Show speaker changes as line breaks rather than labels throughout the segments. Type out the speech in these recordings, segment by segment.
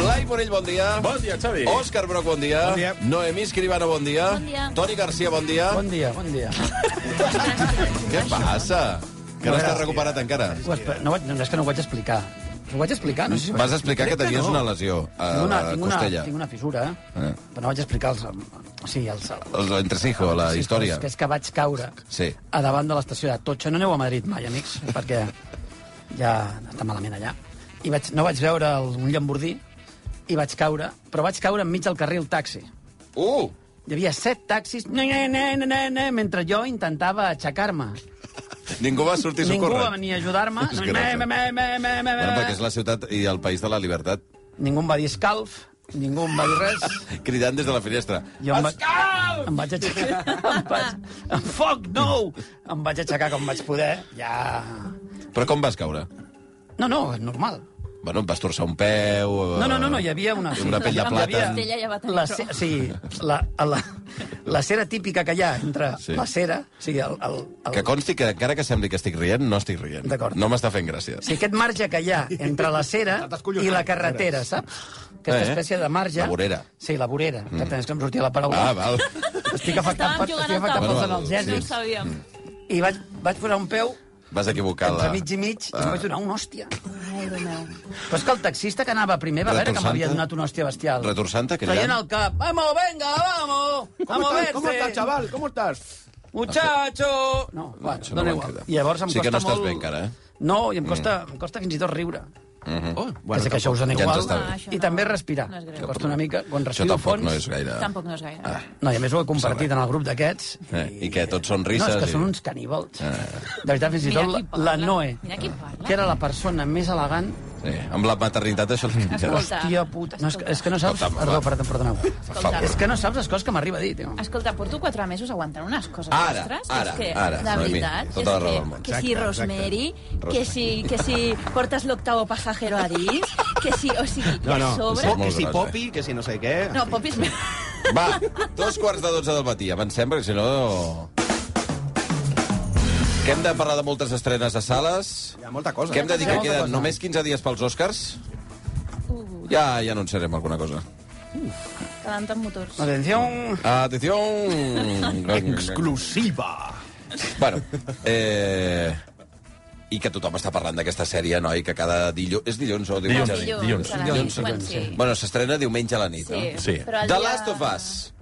Blai Morell, bon dia.
Bon dia, Xavi.
Òscar Broc, bon dia.
Bon dia.
Noemí Escribano, bon dia.
Bon dia.
Toni Garcia, bon dia.
Bon dia, bon dia.
Què passa? Que no estàs recuperat encara.
Ho espe- No, vaig- no, és que no ho vaig explicar. Ho vaig explicar, no? sé si ho vaig-
Vas explicar que
Crec
tenies
no.
una lesió a
Tinc
la
tinc
costella.
Tinc una fissura,
Eh.
eh? però no vaig explicar els... Sí, els...
El entresijo, la
sí,
història.
Que és que vaig caure
Sí.
a davant de l'estació de Totxo. No aneu a Madrid mai, amics, perquè ja està malament allà. I vaig, no vaig veure el, un llambordí i vaig caure, però vaig caure enmig del carril taxi.
Uh!
Hi havia set taxis, ne, ne, ne, ne, ne, ne, mentre jo intentava aixecar-me.
Ningú va sortir a
Ningú
socórrer.
va venir a ajudar-me.
És
Me,
grossa.
me, me, me, me, me,
Bueno, perquè
me.
és la ciutat i el país de la llibertat.
Ningú em va dir escalf, ningú em va dir res.
Cridant des de la finestra.
Jo em, va... em vaig aixecar... em vaig... Foc, no! Em vaig aixecar com vaig poder. Ja...
Però com vas caure?
No, no, és normal.
Bueno, et vas torçar un peu... eh,
No, no, no, no, hi havia una...
Una pell de
hi
plàtan.
havia-
Costella ja va tenir
la,
prou.
ce- sí, la, la, la cera típica que hi ha entre
Sí.
sí. la cera... Sí, el, el, el,
Que consti que encara que sembli que estic rient, no estic rient.
D'acord.
No m'està fent gràcia.
Sí, aquest marge que hi ha entre la cera i la carretera, saps? Aquesta
Eh?
espècie de marge...
La vorera.
Sí, la vorera. Mm. Exacte, és que em sortia la paraula.
Ah, val.
Estic afectat,
Estàvem
per,
jugant
estic
al
taula.
afectat pels
Bueno,
No ho
analgèsics.
sabíem.
I vaig, vaig posar un peu
Vas equivocar la... Ah.
entre mig i mig i em vaig donar una hòstia.
Ai, Déu meu.
Però és que el taxista que anava primer va veure que m'havia
Retorçant-te?
donat una hòstia bestial.
Retorçant-te,
Traient
cridant?
el cap. Vamos, venga, vamos. Vamos, vete.
¿Cómo estás, chaval? ¿Cómo estás?
Muchacho! No, bueno,
això no
dona
ho
igual.
han
I llavors em
Sí que
costa
no estàs
molt...
bé encara, eh?
No, i em costa, mm. em costa fins i tot riure. Mm -hmm. oh,
bueno,
bueno, que això us dona
Mhm. ja ens
igual.
està bé.
Ah, això
I
no-
també respirar.
no és greu.
que costa una mica. Quan
Això
respiro
tampoc
fons...
no és gaire...
Tampoc no és gaire. Ah.
No, i a més ho he compartit en el grup d'aquests.
Eh, i què, tots són risses
No, és que
i- Ah.
són uns caníbals. De veritat, fins i
Mira
tot la,
qui parla.
la Noe,
Mira qui parla.
que era la persona més elegant...
Sí, amb la maternitat això...
Escolta.
Hòstia puta... No, és, que- és que no saps...
Escolta,
Perdó,
va.
perdó, perdoneu.
Per favor.
És que no saps les coses que m'arriba a dir, tio.
Escolta, porto quatre mesos aguantant unes coses
Ara,
vostres.
ara,
que és que,
ara,
de
Noemí,
veritat,
tota
és
la raó
que,
del món.
que si
Exacte,
Rosemary,
exacte.
que si, que si portes l'octavo pasajero a dins, que si, o sigui, que
No,
a
no,
sobre...
és molt
que si
gros,
Popi, que si no sé què...
No, Pop és... meu.
Va, dos quarts de dotze del matí. Avancem, perquè si no... Que hem de parlar de moltes estrenes a sales.
Hi ha molta cosa. eh?
Que hem de dir
Hi
que
ha molta
queden
cosa.
només 15 dies pels Oscars.
Uh,
Ja, ja anunciarem alguna cosa.
Quedant amb motors.
Atenció...
Atenció!
Exclusiva.
Bueno, eh... I que tothom està parlant d'aquesta sèrie, noi, que cada dilluns... És dilluns o
No,
diumenge? a la nit?
dilluns,
dilluns,
a la
dilluns,
nit, quan
dilluns,
sí.
Bueno, s'estrena diumenge a la nit,
Sí,
no?
Sí. però el
The
dia-
Last of Us.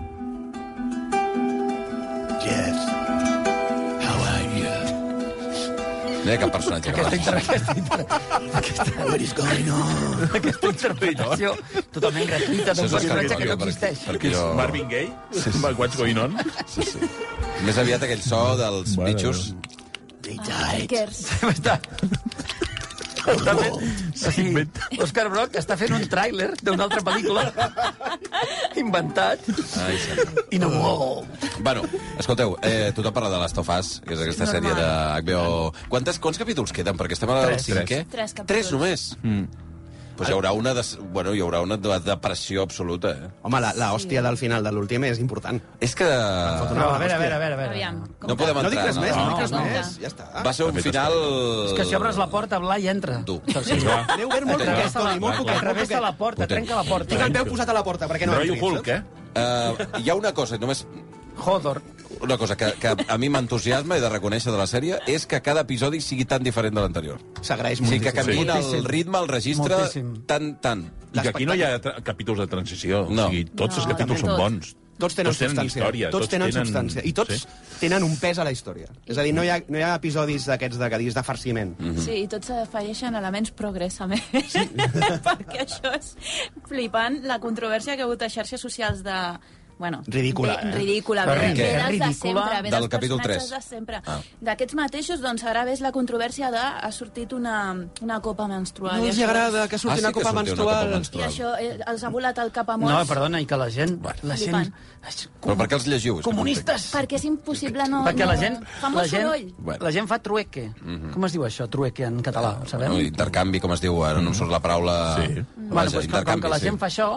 Yes. How are you?
Mira cap personatge que
Aquesta,
va.
inter... aquesta, inter...
What is going on?
aquesta interpretació totalment
eh?
gratuïta
Això és
d'un
Oscar
personatge que no
Vidal, perquè-
existeix.
perquè jo-
Marvin Gaye? Sí, sí. What's going on?
Sí, sí. Més aviat aquell so dels
Mare
bitxos.
They died.
Kers.
Està... Està fent... O sigui, Òscar Brock està fent un tràiler d'una altra pel·lícula inventat.
Ai, senyor.
I no molt.
bueno, escolteu, eh, tothom parla de Last of Us, que és aquesta
Normal.
sèrie de HBO... Quantes, quants capítols queden? Perquè estem al
Tres.
cinquè.
Tres capítols.
Tres només. Mm. Pues hi haurà una, des... bueno, hi haurà una de- depressió absoluta, eh?
Home, la, la hòstia del final de l'últim és important.
És que...
No, a veure, a veure, a veure. A veure.
Aviam.
No podem
No dic
entrar.
res més, no, dic res
no, no.
més. Ja està.
Va ser un final...
És que si obres la porta, Blai entra.
Dur.
Sí.
L'he obert
Clar,
molt poquet,
Travessa la,
Toni, molt poquet. molt
travessa
poquet.
la porta,
Potent.
trenca la
Tinc
porta.
el peu posat a la porta, perquè no
Rotllo
entri,
Hulk, eh?
saps?
Uh, hi ha una cosa, només
eh? Hodor.
una cosa que, que a mi m'entusiasma i de reconèixer de la sèrie és que cada episodi sigui tan diferent de l'anterior.
S'agraeix
O sigui, que
moltíssim.
canviïn el
Moltíssim.
ritme, el registre,
Moltíssim.
tant, tant.
I que aquí no hi ha tra- capítols de transició.
No.
O sigui, tots
No,
els
no.
capítols són bons.
Tots tenen,
tots tenen
substància.
història.
tots, tenen, substància. I tots
Sí.
tenen un pes a la història. És a dir, no hi ha, no hi ha episodis d'aquests de, que diguis de farciment.
Sí, i tots afegeixen elements progressament, sí. perquè això és flipant, la controvèrsia que ha hagut a xarxes socials de Bueno,
Ridícula,
ve-
eh?
Ridícula.
Però
Ve,
què?
ve dels de
Ridícula?
sempre, ve
Del
dels
capítol
personatges
tres.
de sempre.
Ah.
D'aquests mateixos, doncs, ara ves la controvèrsia de ha sortit una, una copa menstrual.
No
i
els
això-
agrada que surti
Ah, sí
una
que
copa
surti una copa
menstrual.
I això eh, els ha volat el cap a
No,
molts.
perdona, i que la gent...
Bueno.
La gent...
Flipant.
és
Però per què els llegiu? És que no
Comunistes!
Perquè és impossible no...
Perquè la
no-
gent...
Fa
la
molt
gent,
soroll.
Bueno. Mhm. Ah,
la gent fa trueque. Com es diu això, trueque, en català? Ho sabem?
Bueno, intercanvi, com es diu, ara no em surt la paraula...
Sí.
Vaja,
Bueno, doncs, com, com que la
sí.
gent fa això,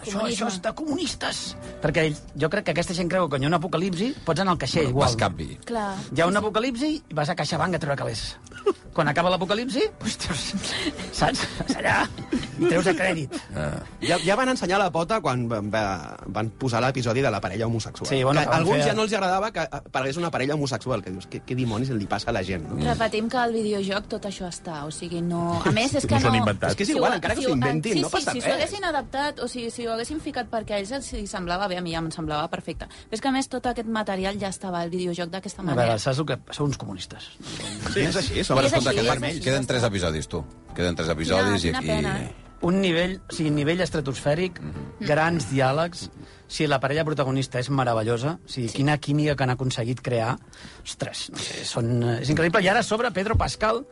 això,
Comunisme.
això és de comunistes. Perquè ells, jo crec que aquesta gent creu que quan hi ha un apocalipsi pots anar al caixer igual.
Vas canvi.
Clar.
Hi ha un apocalipsi i vas a CaixaBank a treure calés. Quan acaba l'apocalipsi, doncs treus, saps? Vas allà i treus a crèdit.
Ja, ja van ensenyar la pota quan van, va- van posar l'episodi de la parella homosexual.
Sí, bueno,
que
que van
alguns
fer-
ja no els agradava que eh, parlés una parella homosexual, que dius, què, què dimonis li passa a la gent,
Mm.
no?
Repetim que al videojoc tot això està, o sigui, no... A més, és que
No s'ho
no...
han inventat.
És que és igual,
ho-
encara que
ho-
s'ho inventin,
sí,
no passa
sí, si
res.
s'ho haguessin adaptat, o sigui, si ho haguessin ficat perquè a ells els hi semblava bé, a mi ja em semblava perfecte. Però és que, a més, tot aquest material ja estava al videojoc d'aquesta
A
manera.
veure, saps el que... Són uns comunistes.
Sí, és així, som
Bueno,
És
escolta,
així, és
queden,
així,
queden
ja
tres
està.
episodis, tu. Queden tres
Quina-
episodis i
quina
aquí...
pena.
un nivell, o sigui, nivell estratosfèric, grans diàlegs, si la parella protagonista és meravellosa, o sigui, quina química que han aconseguit crear, ostres, no sé, són, és increïble. I ara a sobre Pedro Pascal,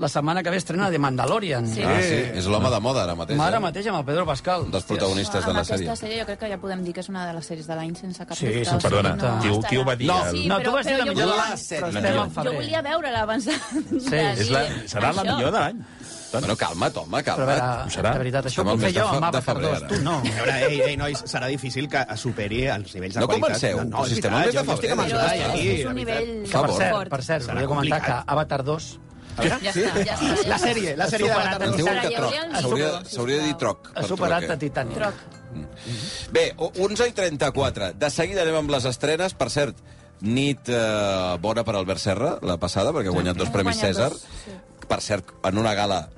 la setmana que ve estrena de Mandalorian.
Sí.
Ah, sí, és l'home de moda ara mateix. eh?
Mare mateix amb el Pedro Pascal.
Un dels
Hòsties.
protagonistes de
amb
la
aquesta
sèrie.
sèrie jo crec que ja podem dir que és una de les sèries de l'any sense cap
Sí, sí,
dubte. o sigui,
perdona,
no
qui ho-
estarà.
qui ho va dir?
No,
El-
sí,
No,
però-
tu vas dir la
però jo
millor de
volia-
la sèrie.
No,
Però estem
jo-
al
Jo
febrer.
volia veure-la abans de...
Sí,
de
És
dir
la, serà la
això.
millor de l'any. Doncs,
Bueno, calma't, home,
Però a
calma't.
veure,
Ho serà.
de veritat, això
Estem
ho
al
puc fer
mes de
jo
fe- de
amb mapa
febrer,
cardós,
ara.
tu no.
A veure, ei, ei, nois, serà difícil que superi els nivells de
No
qualitat.
comenceu,
no,
si
és
estem al
veritat,
mes de
jo no estic
febrer.
amb el
Però
Jonai
és,
aquí,
és
la
un
veritat.
nivell
Que, per
favor.
cert, per cert,
Serà
volia comentar que
complicat.
Avatar 2
Ja està, ja està. ja
La
està.
sèrie, la sèrie de
superat el
la
Em
tarda.
diuen que
Hi
troc.
hauria el
S'hauria-
Nicolau,
S'hauria de dir
sisplau.
troc.
ha
per
superat
trucar.
a Titanic.
Troc.
Bé, o- 11 i 34. De seguida anem amb les estrenes. Per cert, nit eh, bona per Albert Serra, la passada, perquè ha guanyat dos
Ha
premis
guanyat
César.
dos, sí.
Per cert, en una gala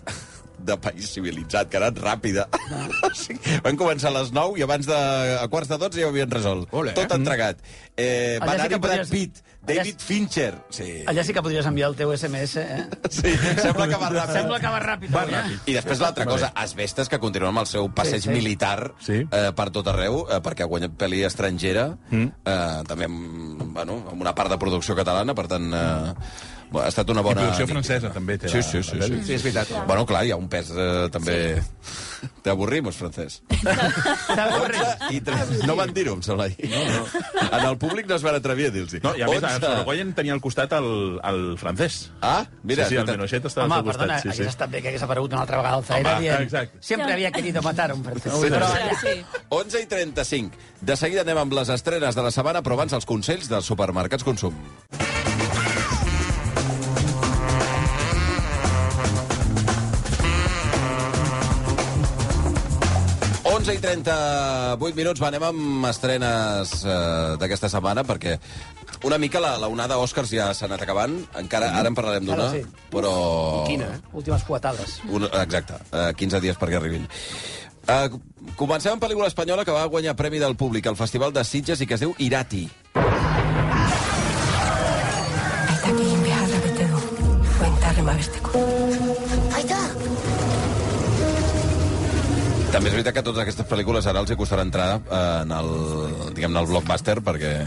de país civilitzat, que ha anat ràpida. Sí, Van començar a les 9 i abans de a quarts de 12 ja ho havien resolt.
Ole.
Tot entregat. Eh,
Allà
va
sí
anar-hi
que
Brad
podries-
Pitt,
allà
David Fincher. Sí.
Allà sí que podries enviar el teu SMS, eh?
sí. Sembla que va ràpid.
Sembla que va ràpid.
Va
avui, eh?
ràpid.
I després l'altra cosa, Asbestes, que continua amb el seu passeig
Sí, sí.
militar
Sí.
eh, per tot arreu, eh, perquè ha guanyat pel·li estrangera,
Mm.
eh, també amb, bueno, amb una part de producció catalana, per tant... Eh, ha estat una
I
bona...
producció
amiga.
francesa, també, té
Sí,
la-
sí, sí.
la
sí,
David.
sí, és veritat. Bueno, clar, hi ha un pes eh, també... T'avorrimos, francès. Dotze i tres. No van dir-ho, em sembla. No, no. En el públic no es van atrevir a dir-los.
No, i a més, el
Onze.
Sorogoyen tenia al costat el, el francès.
Ah, mira,
sí, sí, el
escolta.
Menochet estava
Home,
al seu costat.
perdona,
sí,
hagués
sí.
estat bé que hagués aparegut una altra vegada al Zaire
Home,
dient...
exacte.
Sempre havia querido matar un francès.
Sí,
Però,
Sí, sí.
11 i 35. De seguida anem amb les estrenes de la setmana, però abans els consells dels supermercats Consum. i 38 minuts, va, anem amb estrenes eh, d'aquesta setmana, perquè una mica la, la onada Oscars ja s'ha anat acabant, encara ara en parlarem d'una,
Ara sí.
però...
Quina, eh?
últimes coetades.
Un, exacte, eh, 15 dies perquè arribin. Eh, comencem amb pel·lícula espanyola que va guanyar Premi del Públic al Festival de Sitges i que es diu Irati. També és veritat que totes aquestes pel·lícules ara els hi costarà entrar eh, en el, diguem el blockbuster perquè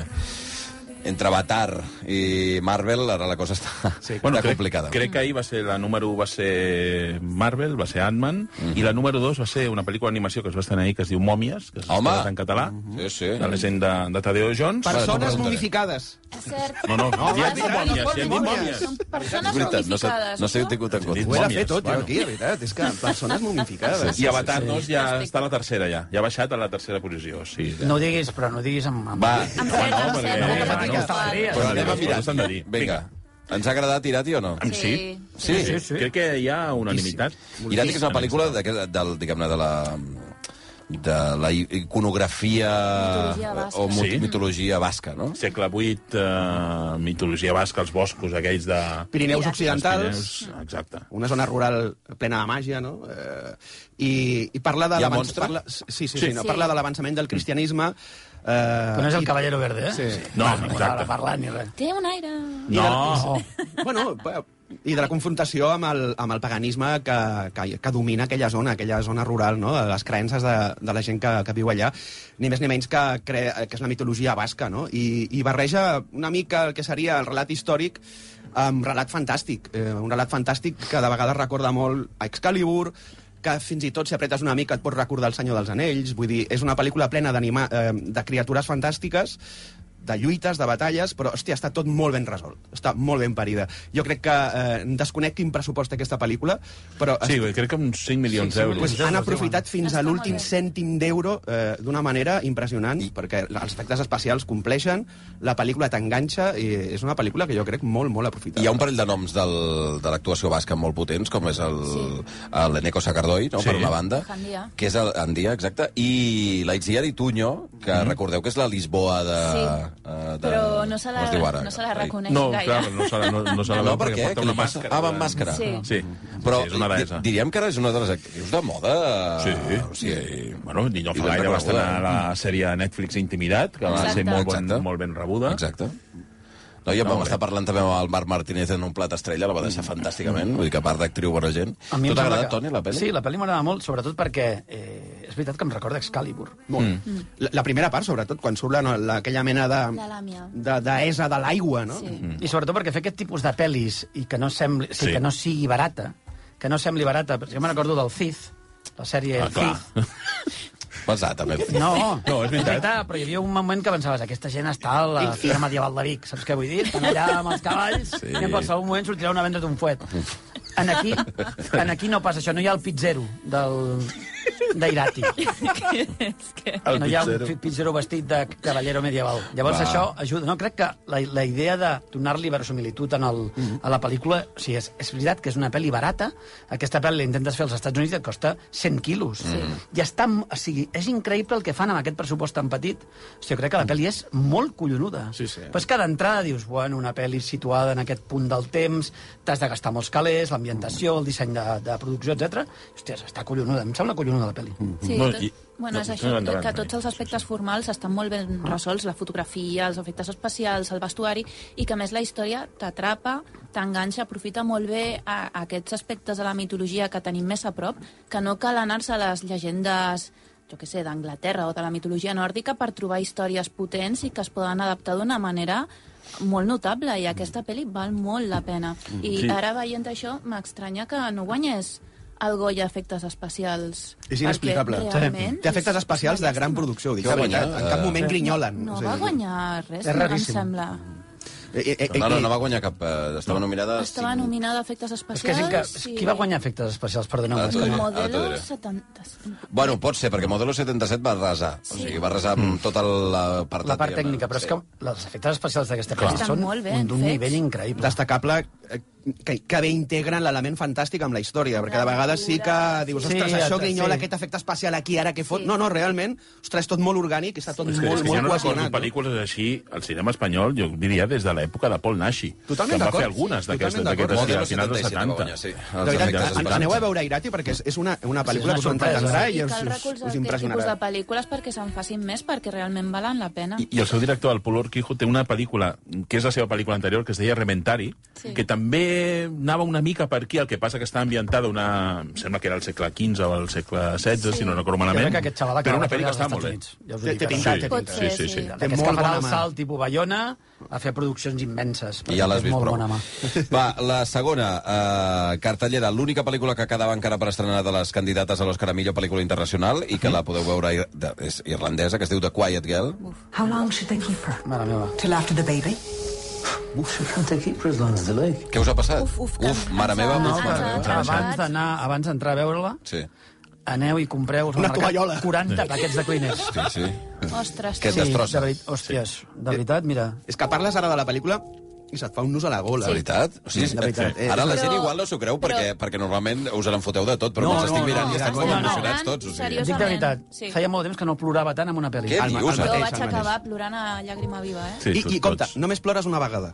entre Avatar i Marvel ara la cosa està, sí, està
crec,
complicada.
Crec que ahir va ser la número 1 va ser Marvel, va ser Ant-Man, i la número 2 va ser una pel·lícula d'animació que es va estar ahir que es diu Mòmies, que s'ha
Home!
estrenat en català,
Sí, sí.
de la gent de, de Tadeo Jones.
Ara t'ho
Persones
preguntaré.
modificades.
És cert.
No, no, no, ja hem dit
no,
Mòmies,
no,
ja hem dit
no,
Mòmies.
Són
És
persones
veritat, no s'ha
modificades.
no s'ha
això?
tingut en
Dit
compte.
Ho he de
Mòmies,
fer tot, jo,
bueno.
aquí, la veritat. És que persones momificades.
I Avatar 2 ja
Respecte.
està a la tercera, ja. Ja ha baixat a la tercera posició. Sí, ja.
No ho diguis, però no ho diguis amb... amb...
Va,
Em sembla, em
No, perquè
sembla que
no, no,
fa
no,
aquesta part.
estaria.
però anem a
les coses s'han
mirar.
de dir.
Vinga. Ens ha agradat Irati o no?
Ah,
Em sí.
Sí.
Sí, sí. Crec que hi ha unanimitat.
Irati, que és una pel·lícula de, del, diguem-ne, de la de la i- iconografia
Mitologia basca.
o mut-
Sí.
mitologia basca, no?
Segle VIII, eh, mitologia basca, els boscos aquells de...
Pirineus
dels
Occidentals,
Pirineus, Exacte.
una zona rural plena de màgia, no? Eh, I, i parla de
Hi ha
l'avanç-
monstre?
Parla, sí, sí, sí,
Sí.
no,
Sí.
parla de l'avançament del cristianisme, Eh,
Que no és el Caballero Verde, eh?
Sí.
No,
Exacte.
exacte.
Parlant ni res.
Té un aire...
I de la-
No.
bueno, pa- i de la confrontació amb el, amb el paganisme que, que, que domina aquella zona, aquella zona rural, no? les creences de, de la gent que, que viu allà, ni més ni menys que, cre, que és la mitologia basca, no? I, i barreja una mica el que seria el relat històric amb relat fantàstic, eh, un relat fantàstic que de vegades recorda molt a Excalibur, que fins i tot si apretes una mica et pots recordar El senyor dels anells, vull dir, és una pel·lícula plena d'anima- eh, de criatures fantàstiques, de lluites, de batalles, però, hòstia, està tot molt ben resolt. Està molt ben parida. Jo crec que eh, desconec quin pressupost té aquesta pel·lícula, però
Sí, crec que uns 5
Sí,
milions
sí,
d'euros.
milions.
pues,
Déu,
han
Déu,
aprofitat fins
Està
a l'últim
molt bé.
cèntim d'euro eh, d'una manera impressionant, I... perquè els efectes especials compleixen, la pel·lícula t'enganxa, i és una pel·lícula que jo crec molt, molt aprofitada.
Hi ha un parell de noms del, de l'actuació basca molt potents, com és el, sí. l'Eneco Sacardoy, no?
Sí.
sí. per una banda,
Gandia.
que és el Andia, exacte, i la Itziar Ituño, que mm. recordeu que és la Lisboa de...
Sí.
eh, de
Però no se la,
com es diu ara?
no se la
Ai.
reconeix
No,
gaire.
clar, no se la, no, no se la
Eh, No,
veu
per què?
porta
Què
una
li passa?
màscara.
Ah, va amb màscara.
Sí.
Sí,
Però
sí, és una deessa.
di- diríem que ara és una de les actrius de moda... eh,
Sí.
O sigui,
Bueno, Niño
i ben
Falaire
rebuda,
va estar a
eh?
la sèrie de Netflix Intimidat, que va
Exacte.
ser molt, bon,
Exacte.
molt ben rebuda.
Exacte. No, ja
Molt
vam
bé.
estar parlant també amb el Marc Martínez en un plat estrella, la va deixar fantàsticament, vull dir que a part d'actriu bona gent.
A
Tu
mi em
t'ha
sembla
agradat,
que-
Toni, la pel·li?
Sí, la pel·li m'agrada molt, sobretot perquè eh, és veritat que em recorda Excalibur.
Molt. Mm.
Mm.
La, la primera part, sobretot, quan surt la, la, aquella mena de...
La làmia.
de, de esa de l'aigua, no?
Sí.
I sobretot perquè fer aquest tipus de pel·lis i que no, sembli, sí.
Sí.
que no sigui barata, que no sembli barata, jo me'n recordo del Thief, la sèrie
Ah,
El
clar.
Thief.
Pesat, també.
No,
No, és veritat.
però hi havia un moment que pensaves aquesta gent està a la fira medieval de Vic, saps què vull dir? Estan allà amb els cavalls
Sí.
sí. i en qualsevol moment sortirà una venda d'un fuet. En aquí, en aquí no passa això, no hi ha el pizzero del d'Irati.
és que...
El
No hi ha un
pizzero.
fi- pizzero vestit de cavallero medieval. Llavors
Va.
Va. això ajuda. No, crec que la, la idea de donar-li verosimilitud en el,
Mm.
a la pel·lícula... O sigui, és, és veritat que és una pel·li barata. Aquesta pel·li la intentes fer als Estats Units i et costa 100 quilos. I està... m- O sigui, és increïble el que fan amb aquest pressupost tan petit. O sigui, crec que la pel·li és molt collonuda.
Sí, sí.
Però és que d'entrada dius, bueno, una pel·li situada en aquest punt del temps, t'has de gastar molts calés, l'ambientació, el disseny de, de producció, etc. Hòsties, està collonuda. Em sembla collonuda la pel·li.
Sí,
No,
tot,
i-
bueno,
no,
és això,
endavant,
que
Rani.
tots els aspectes formals estan molt ben resolts, la fotografia, els efectes especials, el vestuari, i que a més la història t'atrapa, t'enganxa, aprofita molt bé a, a aquests aspectes de la mitologia que tenim més a prop, que no cal anar-se a les llegendes jo què sé, d'Anglaterra o de la mitologia nòrdica per trobar històries potents i que es poden adaptar d'una manera molt notable i aquesta pel·li val molt la pena. I
Mm. Sí.
ara veient això m'estranya que no guanyés el Goya Efectes Especials.
És inexplicable.
Perquè realment
Té efectes
és-
especials de gran producció, ho dic
Que
de
va
veritat.
guanyar,
En cap
eh,
moment grinyolen.
No
O
va
sigui,
guanyar res,
És
em
raríssim.
sembla.
Ah,
Eh, eh, eh,
No, no,
eh,
no va guanyar cap... Eh, estava nominada...
Estava
cinc.
nominada a efectes
És que,
especials...
sí que,
i-
qui va guanyar efectes especials? Perdoneu,
Ah,
és
tu
que
diré.
no.
Ara t'ho
Modelo
diré.
70...
Bueno, pot ser, perquè Modelo 77 va arrasar. Sí. O
Sí.
sigui, va arrasar amb tota la eh? part,
Mm. la part
diguem-ne.
tècnica, però és que els efectes especials d'aquesta
Clar.
pel·li
Estan
són
molt ben
un- d'un
fets.
nivell increïble.
destacable eh, que, que bé integren l'element fantàstic amb la història, perquè de vegades sí que dius,
Sí,
ostres,
altre-
això grinyola,
sí.
aquest efecte especial aquí, ara què fot?
Sí.
No, no, realment, ostres, és tot molt orgànic, està tot
És que, és
molt,
que jo
molt
no recordo
cohesionat. no?
pel·lícules així al cinema espanyol, jo diria des de l'època de Paul Nashi.
Totalment
que en va
d'acord.
fer algunes
Sí,
d'aquestes
totalment
d'aquest
d'acord.
estil,
Modelo
al final dels
77 va
70.
guanyar, sí. Els
De
efectes
veritat,
especials.
an- aneu a veure Irati perquè és, és una, una
una
pel·lícula que us
sorpresa.
entendrà i
I
us,
cal
us,
recolzar aquest
us
eh?
tipus de
impressionarà.
pel·lícules perquè se'n facin més, perquè realment valen la pena.
I, I el seu director, el Paul Urquijo, té una pel·lícula, que és la seva pel·lícula anterior, que es deia Rementari,
Sí.
sí. que també anava una mica per aquí, el que passa que està ambientada una... Em sembla que era el segle XV o el segle XVI,
Sí.
si no recordo
Jo
malament.
crec que aquest xaval
però
acaba
una pel·lícula
als
està
Estats
molt bé.
Units. Ja us ho
Té-
dic
té
ara.
pinta, té
Pot
pinta.
ser,
sí, sí, sí.
Té
molt
molt que farà
bona
el
mà.
salt tipus Bayona a fer produccions immenses.
I ja l'has
Té
vist
molt
prou.
Bona mà.
Va, la segona, eh, cartellera, l'única pel·lícula que quedava encara per estrenar de les candidates a l'Òscar a millor pel·lícula internacional i que la podeu veure, ir- de, és irlandesa, que es diu The Quiet Girl.
How long should they keep her?
Mare meva.
Till after the baby?
Què us ha passat?
Uf, uf, que em
mare
cansa.
meva,
No,
uf, mare
cansa.
meva.
Ah,
Abans d'anar, abans d'entrar a veure-la,
Sí,
aneu i compreu al
Una
mercat
tovallola.
40 paquets de Kleenex.
sí, sí.
Ostres,
Que et destrossa.
de veritat, hòsties, de veritat, mira.
És que parles ara de la pel·lícula i se't fa un nus a la gola.
La veritat? O sigui,
La veritat, eh,
ara la
però-
gent igual no s'ho creu perquè,
però-
perquè normalment us en foteu de tot, però
No,
no, me'ls estic
no,
mirant
no,
i estan
no,
com
no,
emocionats
no.
tots. O sigui.
Dic de veritat,
Sí.
feia molt temps que no plorava tant amb una pel·li.
Què
Ah,
El- el
dius?
mateix,
Jo
Ara?
vaig
el mateix.
acabar plorant a llàgrima viva, eh?
Sí,
I,
tots,
I compte,
tots.
només plores una vegada.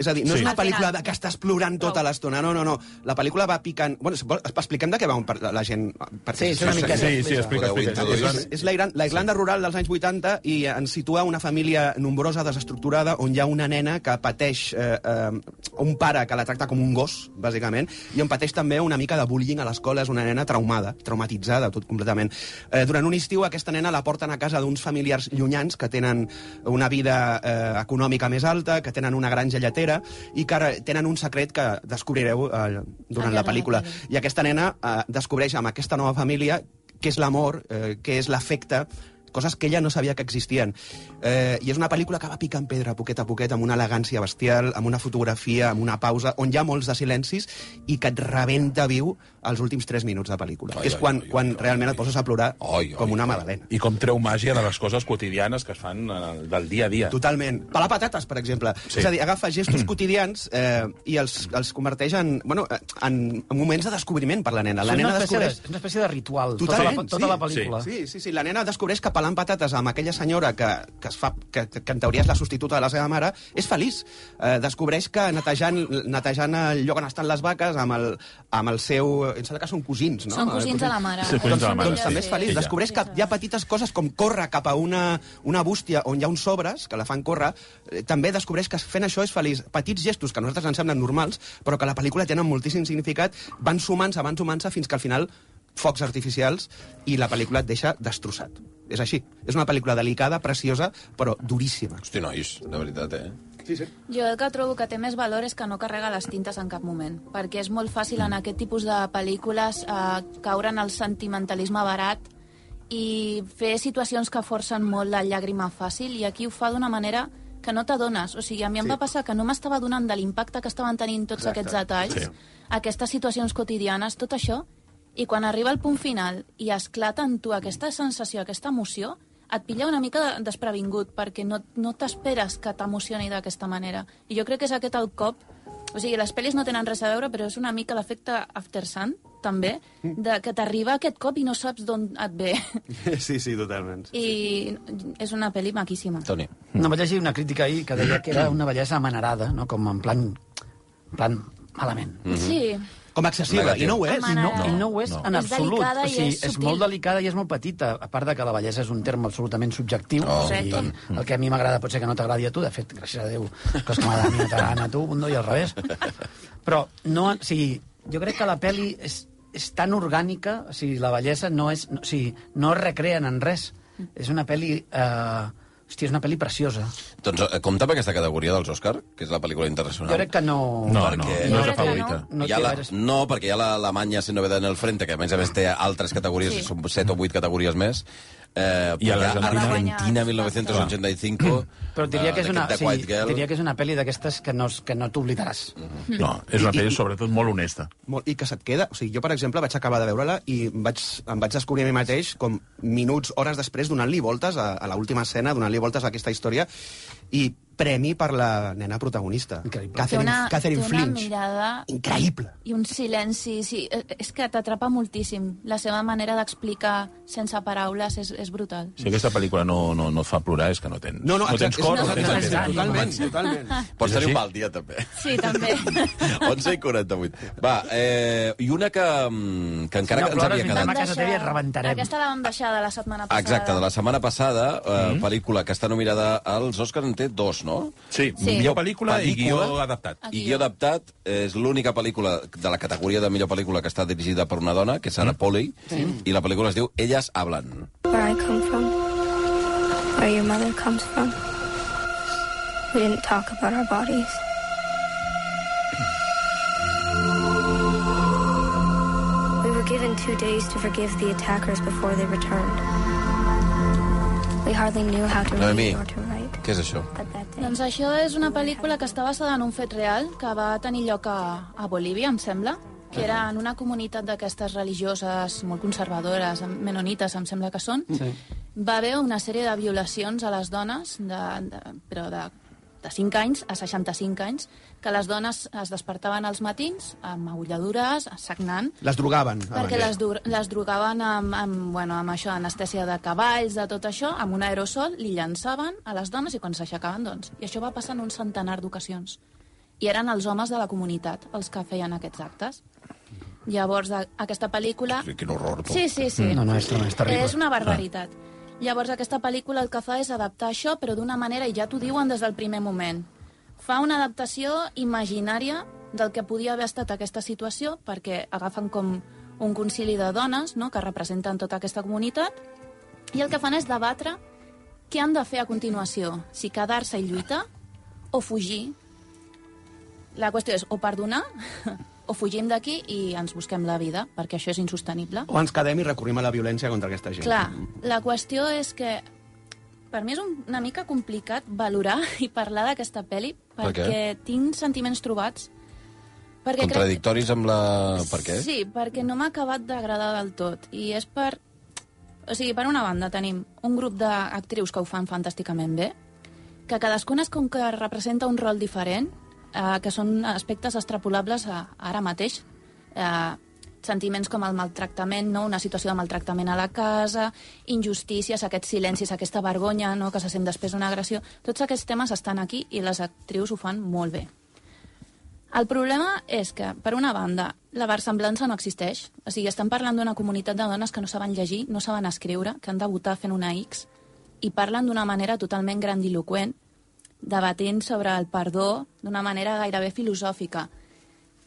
És a dir, no
Sí.
sí. és una
Al
pel·lícula
final.
de que estàs plorant tota
Prou.
l'estona, no, no, no. La pel·lícula va picant... Bueno, si vol- expliquem de què va un, per, la- la gent...
Sí, és una
Sí,
miqueta.
sí, sí, explica,
Podeu
explica. Doncs,
introduir.
Joan.
És, és la Iran- la Islanda rural dels anys 80 i ens situa una família nombrosa, desestructurada, on hi ha una nena que pateix eh, eh, un pare que la tracta com un gos, bàsicament, i on pateix també una mica de bullying a l'escola. És una nena traumada, traumatitzada, tot completament. Eh, durant un estiu aquesta nena la porten a casa d'uns familiars llunyans que tenen una vida eh, econòmica més alta, que tenen una granja lletera i que ara tenen un secret que descobrireu eh, durant
Al llarg
la
de la
pel·lícula.
pel·lícula.
I aquesta nena eh, descobreix amb aquesta nova família què és l'amor, eh, què és l'afecte, coses que ella no sabia que existien. Eh, I és una pel·lícula que va picant pedra poquet a poquet, amb una elegància bestial, amb una fotografia, amb una pausa, on hi ha molts de silencis i que et rebenta viu els últims 3 minuts de pel·lícula.
Ai,
que és
ai,
quan,
ai,
quan
ai,
realment
ai.
et poses a plorar
Ai, ai,
com una
ai.
magdalena.
I com treu màgia de les coses quotidianes que es fan eh, del dia a dia.
Totalment. Pelar patates, per exemple.
Sí.
Sí. És a dir, agafa gestos quotidians eh, i els, els converteix en, bueno, eh, en, en moments de descobriment per la nena. La
és, una
nena
espècie de,
descobreix...
és una espècie de ritual, tota la,
Totalment,
tota
sí,
la pel·lícula.
Sí, sí, sí, la nena descobreix que pelant patates amb aquella senyora que, que, es fa, que, que en teoria és la substituta de la seva mare, és feliç. Eh, descobreix que netejant, netejant el lloc on estan les vaques amb el, amb el seu... Em sembla que són cosins, no?
Són cosins de la mare.
eh, Sí, cosins de la mare,
Doncs també és feliç.
Ella.
Descobreix que hi ha petites coses com córrer cap a una, una bústia on hi ha uns sobres que la fan córrer. eh, També descobreix que fent això és feliç. Petits gestos que a nosaltres ens semblen normals, però que a la pel·lícula tenen moltíssim significat, van sumant-se, van sumant-se, fins que al final focs artificials i la pel·lícula et deixa destrossat. És així. És una pel·lícula delicada, preciosa, però duríssima.
Hosti, nois, de veritat, eh?
Jo el que trobo que té més valor és que no carrega les tintes en cap moment, perquè és molt fàcil en aquest tipus de pel·lícules eh, caure en el sentimentalisme barat i fer situacions que forcen molt la llàgrima fàcil i aquí ho fa d'una manera que no t'adones. O sigui, a mi em sí. va passar que no m'estava donant de l'impacte que estaven tenint tots Exacte. aquests detalls, sí. aquestes situacions quotidianes, tot això, i quan arriba el punt final i esclata en tu aquesta sensació, aquesta emoció, et pilla una mica de- desprevingut, perquè no, no t'esperes que t'emocioni d'aquesta manera. I jo crec que és aquest el cop... O sigui, les pel·lis no tenen res a veure, però és una mica l'efecte After Sun, també, de que t'arriba aquest cop i no saps d'on et ve.
Sí, sí, totalment.
I és una pel·li maquíssima.
Toni.
No, vaig llegir una crítica ahir que deia que era una bellesa amanerada, no? com en plan, en plan malament.
Sí,
Com excessiva, i no ho és.
I no,
Amanerada.
i no ho és
No.
en
És
absolut.
delicada i
o sigui,
és
és
subtil.
molt delicada i és molt petita, a part de que la bellesa és un terme absolutament subjectiu.
Oh,
o sigui,
i tant.
el que a mi m'agrada pot ser que no t'agradi a tu, de fet, gràcies a Déu, coses que m'agraden a mi no t'agraden a tu, un i al revés. Però no, o sigui, jo crec que la peli és, és tan orgànica, o sigui, la bellesa no és... No, o sigui, no es recreen en res. És una peli... Eh, hòstia, és una peli preciosa.
Doncs eh, compta amb aquesta categoria dels Òscar, que és la pel·lícula internacional.
Jo crec que no...
No, no,
Perquè-
no és
Jo crec
la
que
favorita.
no.
hi ha
té
la,
gaires-
no, perquè hi ha l'Alemanya sin novedad en el frente, que a més a més té altres categories,
Sí.
sí. són 7 o 8 categories més. Eh,
I a
perquè
l'Argentina.
Argentina 1985...
Però diria que, és
eh,
una,
The
sí,
Quiet Girl.
diria que és una pel·li d'aquestes que no, es- que no t'oblidaràs.
No, és una pel·li sobretot molt honesta.
molt, i que se't queda. O sigui, jo, per exemple, vaig acabar de veure-la i em vaig, em vaig descobrir a mi mateix com minuts, hores després, donant-li voltes a, a l'última escena, donant-li voltes a aquesta història, i premi per la nena protagonista.
Increïble.
té
Catherine,
una, té
Catherine
una
Flinch.
mirada
Increïble.
i un silenci, sí, eh, és que t'atrapa moltíssim. La seva manera d'explicar sense paraules és, és brutal.
Si aquesta pel·lícula no, no, no et fa plorar és que no tens,
No, no,
no tens
exacte,
cor,
és-
no tens
exacte,
ànima.
totalment, totalment.
Pots tenir
És
un
així?
mal dia, també.
Sí, també.
11 i 48. Va, eh, i una que, mm, que encara que
no
ens
plores,
havia
vindrà
quedat...
a casa teva i et rebentarem.
Aquesta la vam deixar de la setmana passada.
Exacte, de la setmana passada, eh,
Mm-hmm.
pel·lícula que està nominada als Òscar en té dos, no?
Sí,
Sí.
millor pel·lícula i guió adaptat.
I guió adaptat és l'única pel·lícula de la categoria de millor pel·lícula que està dirigida per una dona, que és Sarah Polley, i la pel·lícula es diu Elles hablan.
Where I come from, where your mother comes from, we didn't talk about our bodies. We were given two days to forgive the attackers before they returned. We hardly knew how to read
Noemí,
or to write,
què és això?
but that day.
Doncs això és una pel·lícula que està basada en un fet real que va tenir lloc a, a Bolívia, em sembla, que era en una comunitat d'aquestes religioses molt conservadores, em- menonites, em sembla que són. Sí. Va haver una sèrie de violacions a les dones, de, de, però de, de 5 anys a 65 anys, que les dones es despertaven als matins amb agulladures, sagnant,
Les drogaven.
perquè
abans.
les, dur- les drogaven amb, amb, bueno, amb això, anestèsia de cavalls, de tot això, amb un aerosol, li llançaven a les dones i quan s'aixecaven, doncs. I això va passar en un centenar d'ocasions. i eren els homes de la comunitat els que feien aquests actes. Llavors, a- aquesta pel·lícula...
Quin horror, tu.
Sí, sí, sí.
Mm. No, no, és, és terrible.
És una barbaritat. Llavors, aquesta pel·lícula el que fa és adaptar això, però d'una manera, i ja t'ho diuen des del primer moment. Fa una adaptació imaginària del que podia haver estat aquesta situació, perquè agafen com un concili de dones, no?, que representen tota aquesta comunitat, i el que fan és debatre què han de fer a continuació, si quedar-se i lluitar o fugir. La qüestió és o perdonar o fugim d'aquí i ens busquem la vida, perquè això és insostenible.
O ens quedem i recorrim a la violència contra aquesta gent.
Clar, la qüestió és que per mi és un- una mica complicat valorar i parlar d'aquesta pel·li
Per què?
perquè tinc sentiments trobats. Perquè
Contradictoris amb la... Per què?
Sí, perquè no m'ha acabat d'agradar del tot. I és per... O sigui, per una banda tenim un grup d'actrius que ho fan fantàsticament bé, que cadascuna és com que representa un rol diferent, eh, que són aspectes extrapolables a, ara mateix. Eh, sentiments com el maltractament, no? una situació de maltractament a la casa, injustícies, aquests silencis, aquesta vergonya no? que se sent després d'una agressió... Tots aquests temes estan aquí i les actrius ho fan molt bé. El problema és que, per una banda, la versemblança no existeix. O sigui, estan parlant d'una comunitat de dones que no saben llegir, no saben escriure, que han de votar fent una X, i parlen d'una manera totalment grandiloquent, debatent sobre el perdó d'una manera gairebé filosòfica.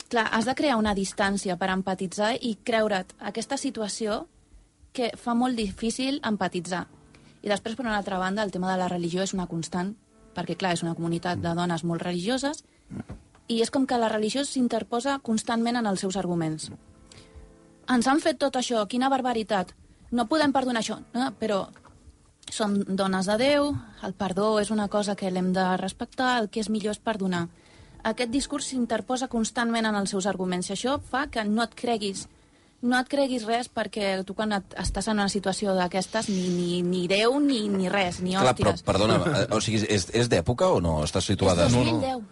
Clar, has de crear una distància per empatitzar i creure't aquesta situació que fa molt difícil empatitzar. I després, per una altra banda, el tema de la religió és una constant, perquè, clar, és una comunitat de dones molt religioses i és com que la religió s'interposa constantment en els seus arguments. Ens han fet tot això, quina barbaritat. No podem perdonar això, no? però som dones de Déu, el perdó és una cosa que l'hem de respectar, el que és millor és perdonar. Aquest discurs s'interposa constantment en els seus arguments i això fa que no et creguis no et creguis res perquè tu quan et, estàs en una situació d'aquestes ni, ni, ni Déu ni, ni res, ni
Clar, però,
hòsties.
perdona, eh, o sigui, és, és d'època o no? Està situada...
és 2010.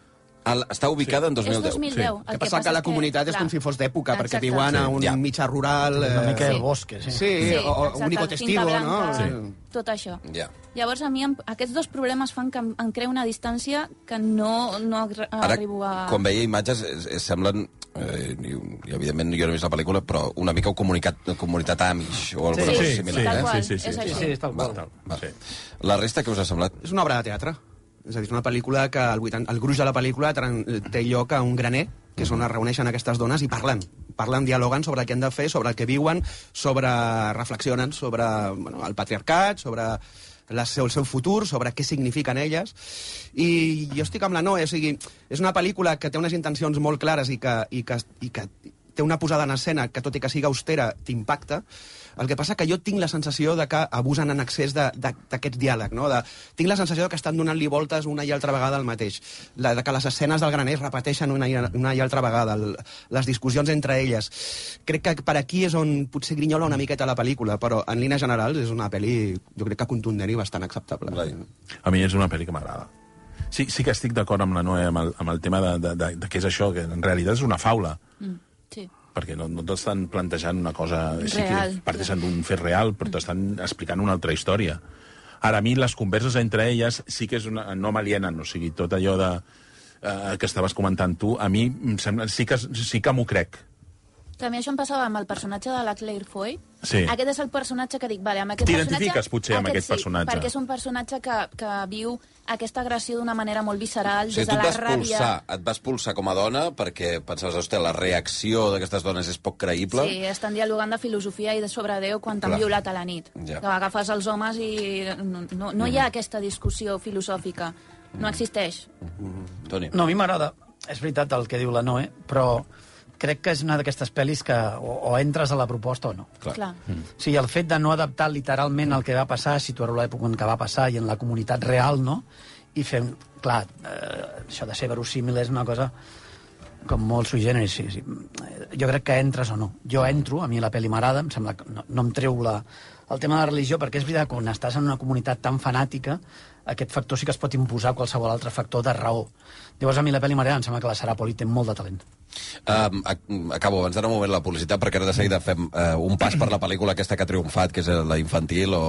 Al, està ubicada en
És
2010.
2010. El
El que passa que la comunitat és
clar,
com si fos d'època, perquè
exacte.
viuen a
Sí,
un
ja.
mitjà rural... eh,
Una mica
Sí.
de bosque, sí.
Sí, sí o, o
exacte,
un nicotestigo,
tinta
no?
blanca,
Sí.
Tot això.
Ja.
Llavors, a mi em, aquests dos problemes fan que em, em creu una distància que no, no agr-
Ara,
arribo a...
quan veia imatges, es, es semblen... Eh, i, i, evidentment, jo no he vist la pel·lícula, però una mica ho comunicat, comunitat Amish o alguna
Sí,
cosa
sí,
similar.
tal
eh?
qual,
Sí, sí, sí,
és
sí,
Sí,
així.
sí, és tal qual.
Val, val. La resta, què us ha semblat?
És una obra de teatre. És a dir, és una pel·lícula que el, 80, el gruix de la pel·lícula tran- té lloc a un graner, que és on es reuneixen aquestes dones i parlen. Parlen, dialoguen sobre el que han de fer, sobre el que viuen, sobre reflexionen sobre bueno, el patriarcat, sobre la seu, el seu futur, sobre què signifiquen elles. I jo estic amb la Noe, o sigui, és una pel·lícula que té unes intencions molt clares i que, i que, i que té una posada en escena que, tot i que siga austera, t'impacta. El que passa que jo tinc la sensació de que abusen en excés de- de- d'aquest diàleg, no? De, tinc la sensació que estan donant-li voltes una i altra vegada al mateix. La, de que les escenes del graner es repeteixen una i, una i altra vegada, el, les discussions entre elles. Crec que per aquí és on potser grinyola una miqueta la pel·lícula, però en línia general és una pel·li, jo crec que contundent i bastant acceptable.
Blai.
A mi és una pel·li que m'agrada. Sí, sí que estic d'acord amb la Noé, amb el, amb el tema de, de, de, de què és això, que en realitat és una faula,
Mm, sí.
perquè no, no t'estan plantejant una cosa...
Real.
que parteixen d'un fet real, però t'estan explicant una altra història. Ara, a mi, les converses entre elles sí que és una, no m'alienen, o sigui, tot allò de, eh, que estaves comentant tu, a mi em sembla, sí que, sí que m'ho crec.
També això em passava amb el personatge de la Claire Foy.
Sí.
Aquest és el personatge que dic, vale, amb aquest
T'identifiques,
personatge...
potser, amb aquest
sí,
personatge.
perquè és un personatge que, que viu aquesta agressió d'una manera molt visceral,
O sigui,
des
tu
de
et
la
vas
ràbia...
pulsar, et vas pulsar com a dona perquè pensaves, hòstia, la reacció d'aquestes dones és poc creïble.
Sí, estan dialogant de filosofia i de sobre Déu quan t'han
Clar.
violat a la nit.
Ja. Mhm.
Que agafes els homes i no, no, no hi ha aquesta discussió filosòfica. No existeix.
Toni.
No, a mi m'agrada, és veritat el que diu la Noe, però crec que és una d'aquestes pel·lis que o, o entres a la proposta o no.
Clar.
Clar.
O sigui, el fet de no adaptar literalment el que va passar, situar-ho a l'època en què va passar i en la comunitat real, no? I fem... Clar, eh, això de ser verosímil és una cosa com molt sui generis. Sí, sí. Eh, Jo crec que entres o no. Jo entro, a mi la pel·li m'agrada, em sembla que no, no em treu la, el tema de la religió, perquè és veritat, quan estàs en una comunitat tan fanàtica, aquest factor sí que es pot imposar a qualsevol altre factor de raó. Llavors, a mi la pel·li m'agrada, em sembla que la Sara Poli té molt de talent.
Um, acabo, abans d'anar un moment a la publicitat, perquè ara de seguida fem uh, un pas per la pel·lícula aquesta que ha triomfat, que és eh, la infantil o,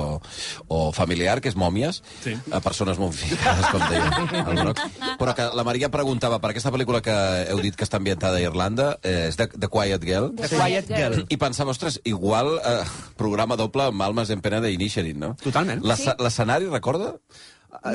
o familiar, que és Mòmies, sí. a persones momificades, com deia el Broc. Però que la Maria preguntava per aquesta pel·lícula que heu dit que està ambientada a Irlanda, eh, és The, The Quiet Girl,
The Quiet Girl.
i pensava, ostres, igual eh, programa doble amb Almas en pena d'Initiating, no?
Totalment.
L'es- L'escenari, recorda?
Eh,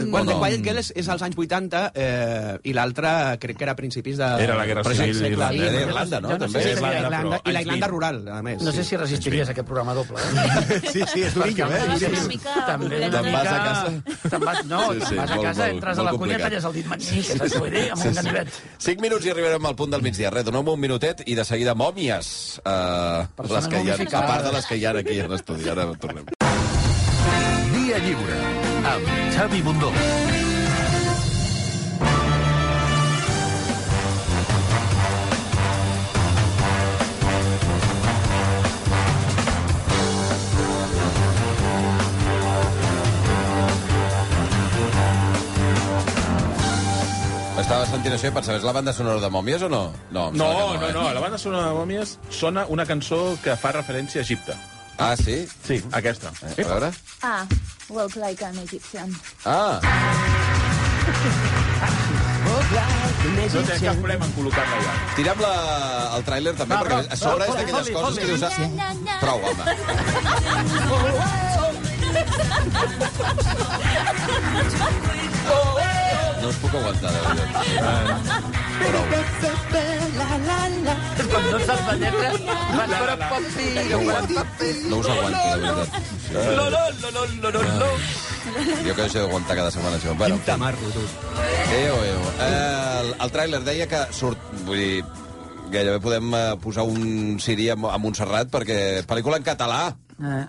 Well, The Quiet Girl és, és als anys 80 eh, i l'altre crec que era a principis de...
Era la Guerra
Però
Civil
sí, sí, clar,
d'Irlanda.
sí.
Era Irlanda, no?
Jo no sé
També.
si
Sí,
Irlanda,
la
però
Irlanda, I
anys
la Irlanda
20.
rural, a més.
No sé si resistiries a aquest programa doble. Eh?
Sí, sí, és durillo, eh?
Perquè-
Durillo.
Una mica
També
complex,
una
Te'n vas a
mica-
casa.
Te'n vas, no,
Sí,
sí,
sí,
te'n vas a
molt,
casa,
molt,
entres
molt
a la cuina i
complicat.
talles el dit magnífic, sí, sí, vull dir, amb un ganivet.
5 minuts i arribarem al punt del migdia. Res, donem un minutet i de seguida mòmies. Uh,
Persones
les que hi ha, a
momificades.
part de les que hi ha aquí a l'estudi. Ara tornem.
Via Lliure, amb Xavi Bundó.
Estava sentint això i pensava, és la banda sonora de mòmies o no? No, eh? em sembla
No, eh?
que
no, no, la banda sonora de Mòmies sona una cançó que fa referència a Egipte.
eh? Ah, sí?
Sí, aquesta.
Eh, a veure.
Ah, walk like an Egyptian.
Ah,
No té cap problema en col·locar-la allà.
tira'm la, el tràiler també,
Va,
perquè
va,
a sobre
va,
és d'aquelles
foli,
coses
foli.
que dius... Ah, prou, home. No us puc aguantar, de veritat.
És quan no saps la lletra, vas veure papi,
No us aguanto, de veritat.
no, no, no, no, no, no.
Jo que deixo d'aguantar cada setmana això. Bueno,
Quin tamarro, tu.
Déu, Déu. Eh, el, el tràiler deia que surt... Vull dir, gairebé podem eh, posar un CD a, Mo- a Montserrat perquè pel·lícula en català.
Eh,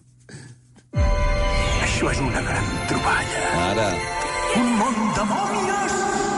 Això és una gran troballa.
Ara,
Un món de mòmies!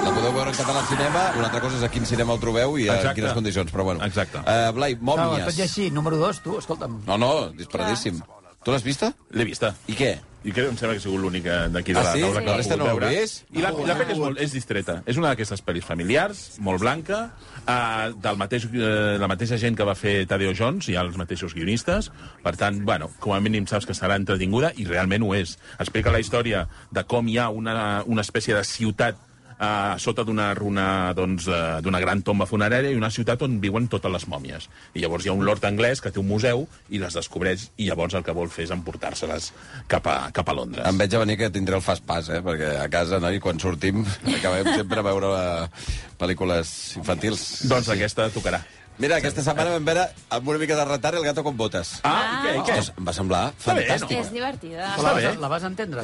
la podeu veure en català al cinema. Una altra cosa és a quin cinema el trobeu i a
Exacte.
quines condicions, però bueno.
Exacte.
Eh, Blai,
No, tot i
mòmies.
així, número 2, tu, escolta'm.
No, no, disparadíssim. Tu l'has vista?
L'he vista.
I què?
I crec, em sembla que ha sigut l'única d'aquí de
Ah,
la
sí?
taula que
La
l'ha
resta
pogut
no l'heu
veure.
vist?
I la, la pel·li és, molt, és distreta. És una d'aquestes pel·lis familiars, molt blanca, eh, del mateix, eh, la mateixa gent que va fer Tadeo Jones, i els mateixos guionistes. Per tant, bueno, com a mínim saps que serà entretinguda, i realment ho és. Explica la història de com hi ha una, una espècie de ciutat a sota d'una runa, doncs, eh, d'una gran tomba funerària i una ciutat on viuen totes les mòmies. I llavors hi ha un lord anglès que té un museu i les descobreix i llavors el que vol fer és emportar-se-les cap a, cap a Londres.
Em veig a venir que tindré el fast pass, eh? Perquè a casa, noi, quan sortim, acabem sempre a veure eh, pel·lícules infantils.
Doncs aquesta tocarà.
Mira, aquesta setmana vam veure amb una mica de retard el gato con botes.
Ah, i què, i què?
Ostres, em va semblar
bé,
fantàstic.
És divertida.
La
bé.
vas, la vas entendre?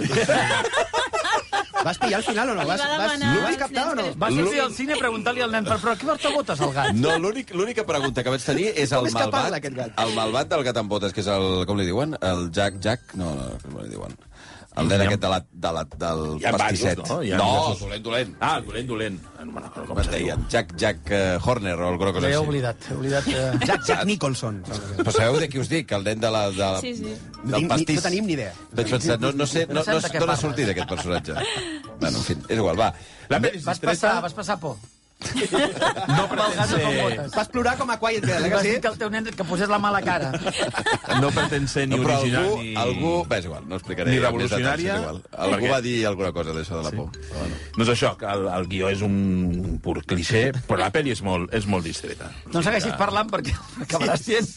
eh? Vas pillar al final o no?
Li
Vas,
va
vas,
demanar
ho vas
uns
captar o no?
nens
Vas sortir al cine preguntant-li al nen, però, però qui porta botes al gat?
No, l'únic- l'única pregunta que vaig tenir és el
Com és que
malvat,
parla aquest gat?
el malvat del gat amb botes, que és el, com li diuen? El Jack Jack? No, no, com li diuen? El nen aquest de la, de la, del
Hi ha
pastisset.
vasos, no? Hi ha
no,
vasos.
dolent, dolent.
Ah, el dolent, dolent. No me'n recordo
Com es deia? Jack Jack eh, Horner o alguna cosa
L'he
així.
oblidat, he oblidat... Eh...
Jack, Jack Nicholson.
Però sabeu de qui us dic? El nen de la, de la,
Sí, sí.
Ni-
del
ni-
pastís.
no tenim ni idea.
Vaig pensar, no, no sé, no, no,
Pensem de què
no, no
parles.
sortir d'aquest personatge. bueno, en fi, és igual, va.
La pel·li és
Vas
distreta,
passar, vas passar por.
no
Pel
pretén
gat o amb
ser,
botes.
Vas plorar com a Quiet Girl,
Li
eh, que
vas
sí?
dir que el teu nen que posés la mala cara.
no pretén ser ni
No, però
original
algú,
ni...
algú... Bé, és igual, no explicaré.
Ni
més detalls, és
revolucionària,
igual. Algú
perquè-
va dir alguna cosa d'això de la por. Però Bueno.
No és això, que el, el guió és un pur cliché, però la pel·li és molt, és molt distreta.
No segueixis parlant perquè acabaràs dient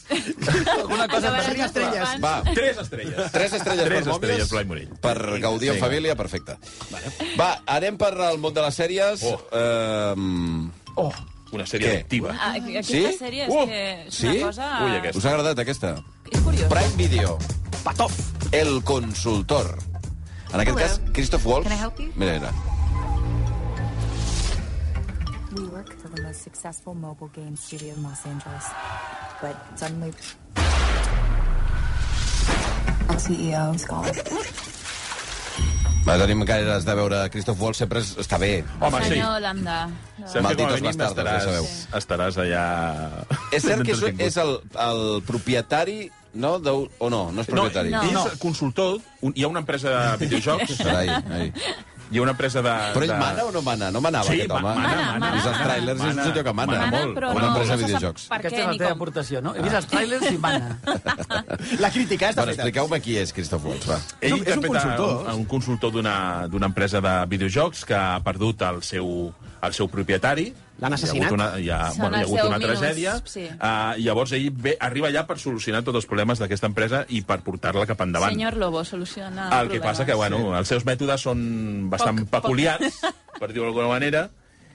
alguna cosa
Acabaràs
de estrelles.
desculpant.
Va,
Tres estrelles.
Tres estrelles
Tres
per mòbils,
estrelles, Blai Morell.
per gaudir en
Vinga.
família, perfecte. Vale. Va, anem per al món de les sèries.
Oh.
Ehm,
Oh, una sèrie
Què?
activa.
Ah, aquesta
Sí?
sèrie és,
Uh,
que és
sí?
una cosa...
Ui, aquesta.
us ha agradat aquesta?
És curiosa.
Prime Video. Patov. El consultor. En aquest cas, Christoph Waltz.
Can I help you?
Mira, mira.
We work for the most successful mobile game studio in Los Angeles. But suddenly. Our CEO E is gone.
Va, tenim gaires de veure Christoph Waltz, sempre és- està bé.
Home, sí.
Senyor Holanda. No.
Saps que com
Malditos
a mínim
bastardos, ja sabeu.
estaràs, estaràs allà...
És cert que és,
entretingut.
és el, el propietari, no? De, o no, no és
No,
propietari.
no, és consultor, un, hi ha una empresa de videojocs
Carai, ai.
Hi ha una empresa de...
Però ell
de...
mana o no mana? No manava
Sí,
aquest
ma-
home?
mana,
Mana, mana,
I els
mana.
trailers és un senyor que mana,
Mana,
molt.
però
Una
no,
empresa
no
de
se sap
videojocs.
Per
Aquesta
què
és la
ni
teva
com?
aportació, no? He vist els trailers i mana.
La crítica és de
Bueno, expliqueu-me qui és Christoph Waltz, va.
És un- és un
interpreta
consultor.
Un, un consultor d'una d'una empresa de videojocs que ha perdut el seu, el seu propietari.
L'han assassinat?
Hi ha hagut una, hi ha,
Són
bueno, hi ha
els
hagut
deu
una
minuts,
tragèdia.
sí.
Uh, llavors ell ve, arriba allà per solucionar tots els problemes d'aquesta empresa i per portar-la cap endavant.
Senyor Lobo, soluciona
Ah,
El que passa que, bueno, els seus mètodes són bastant
Ah, Poc- poc.
peculiars, per dir-ho d'alguna manera,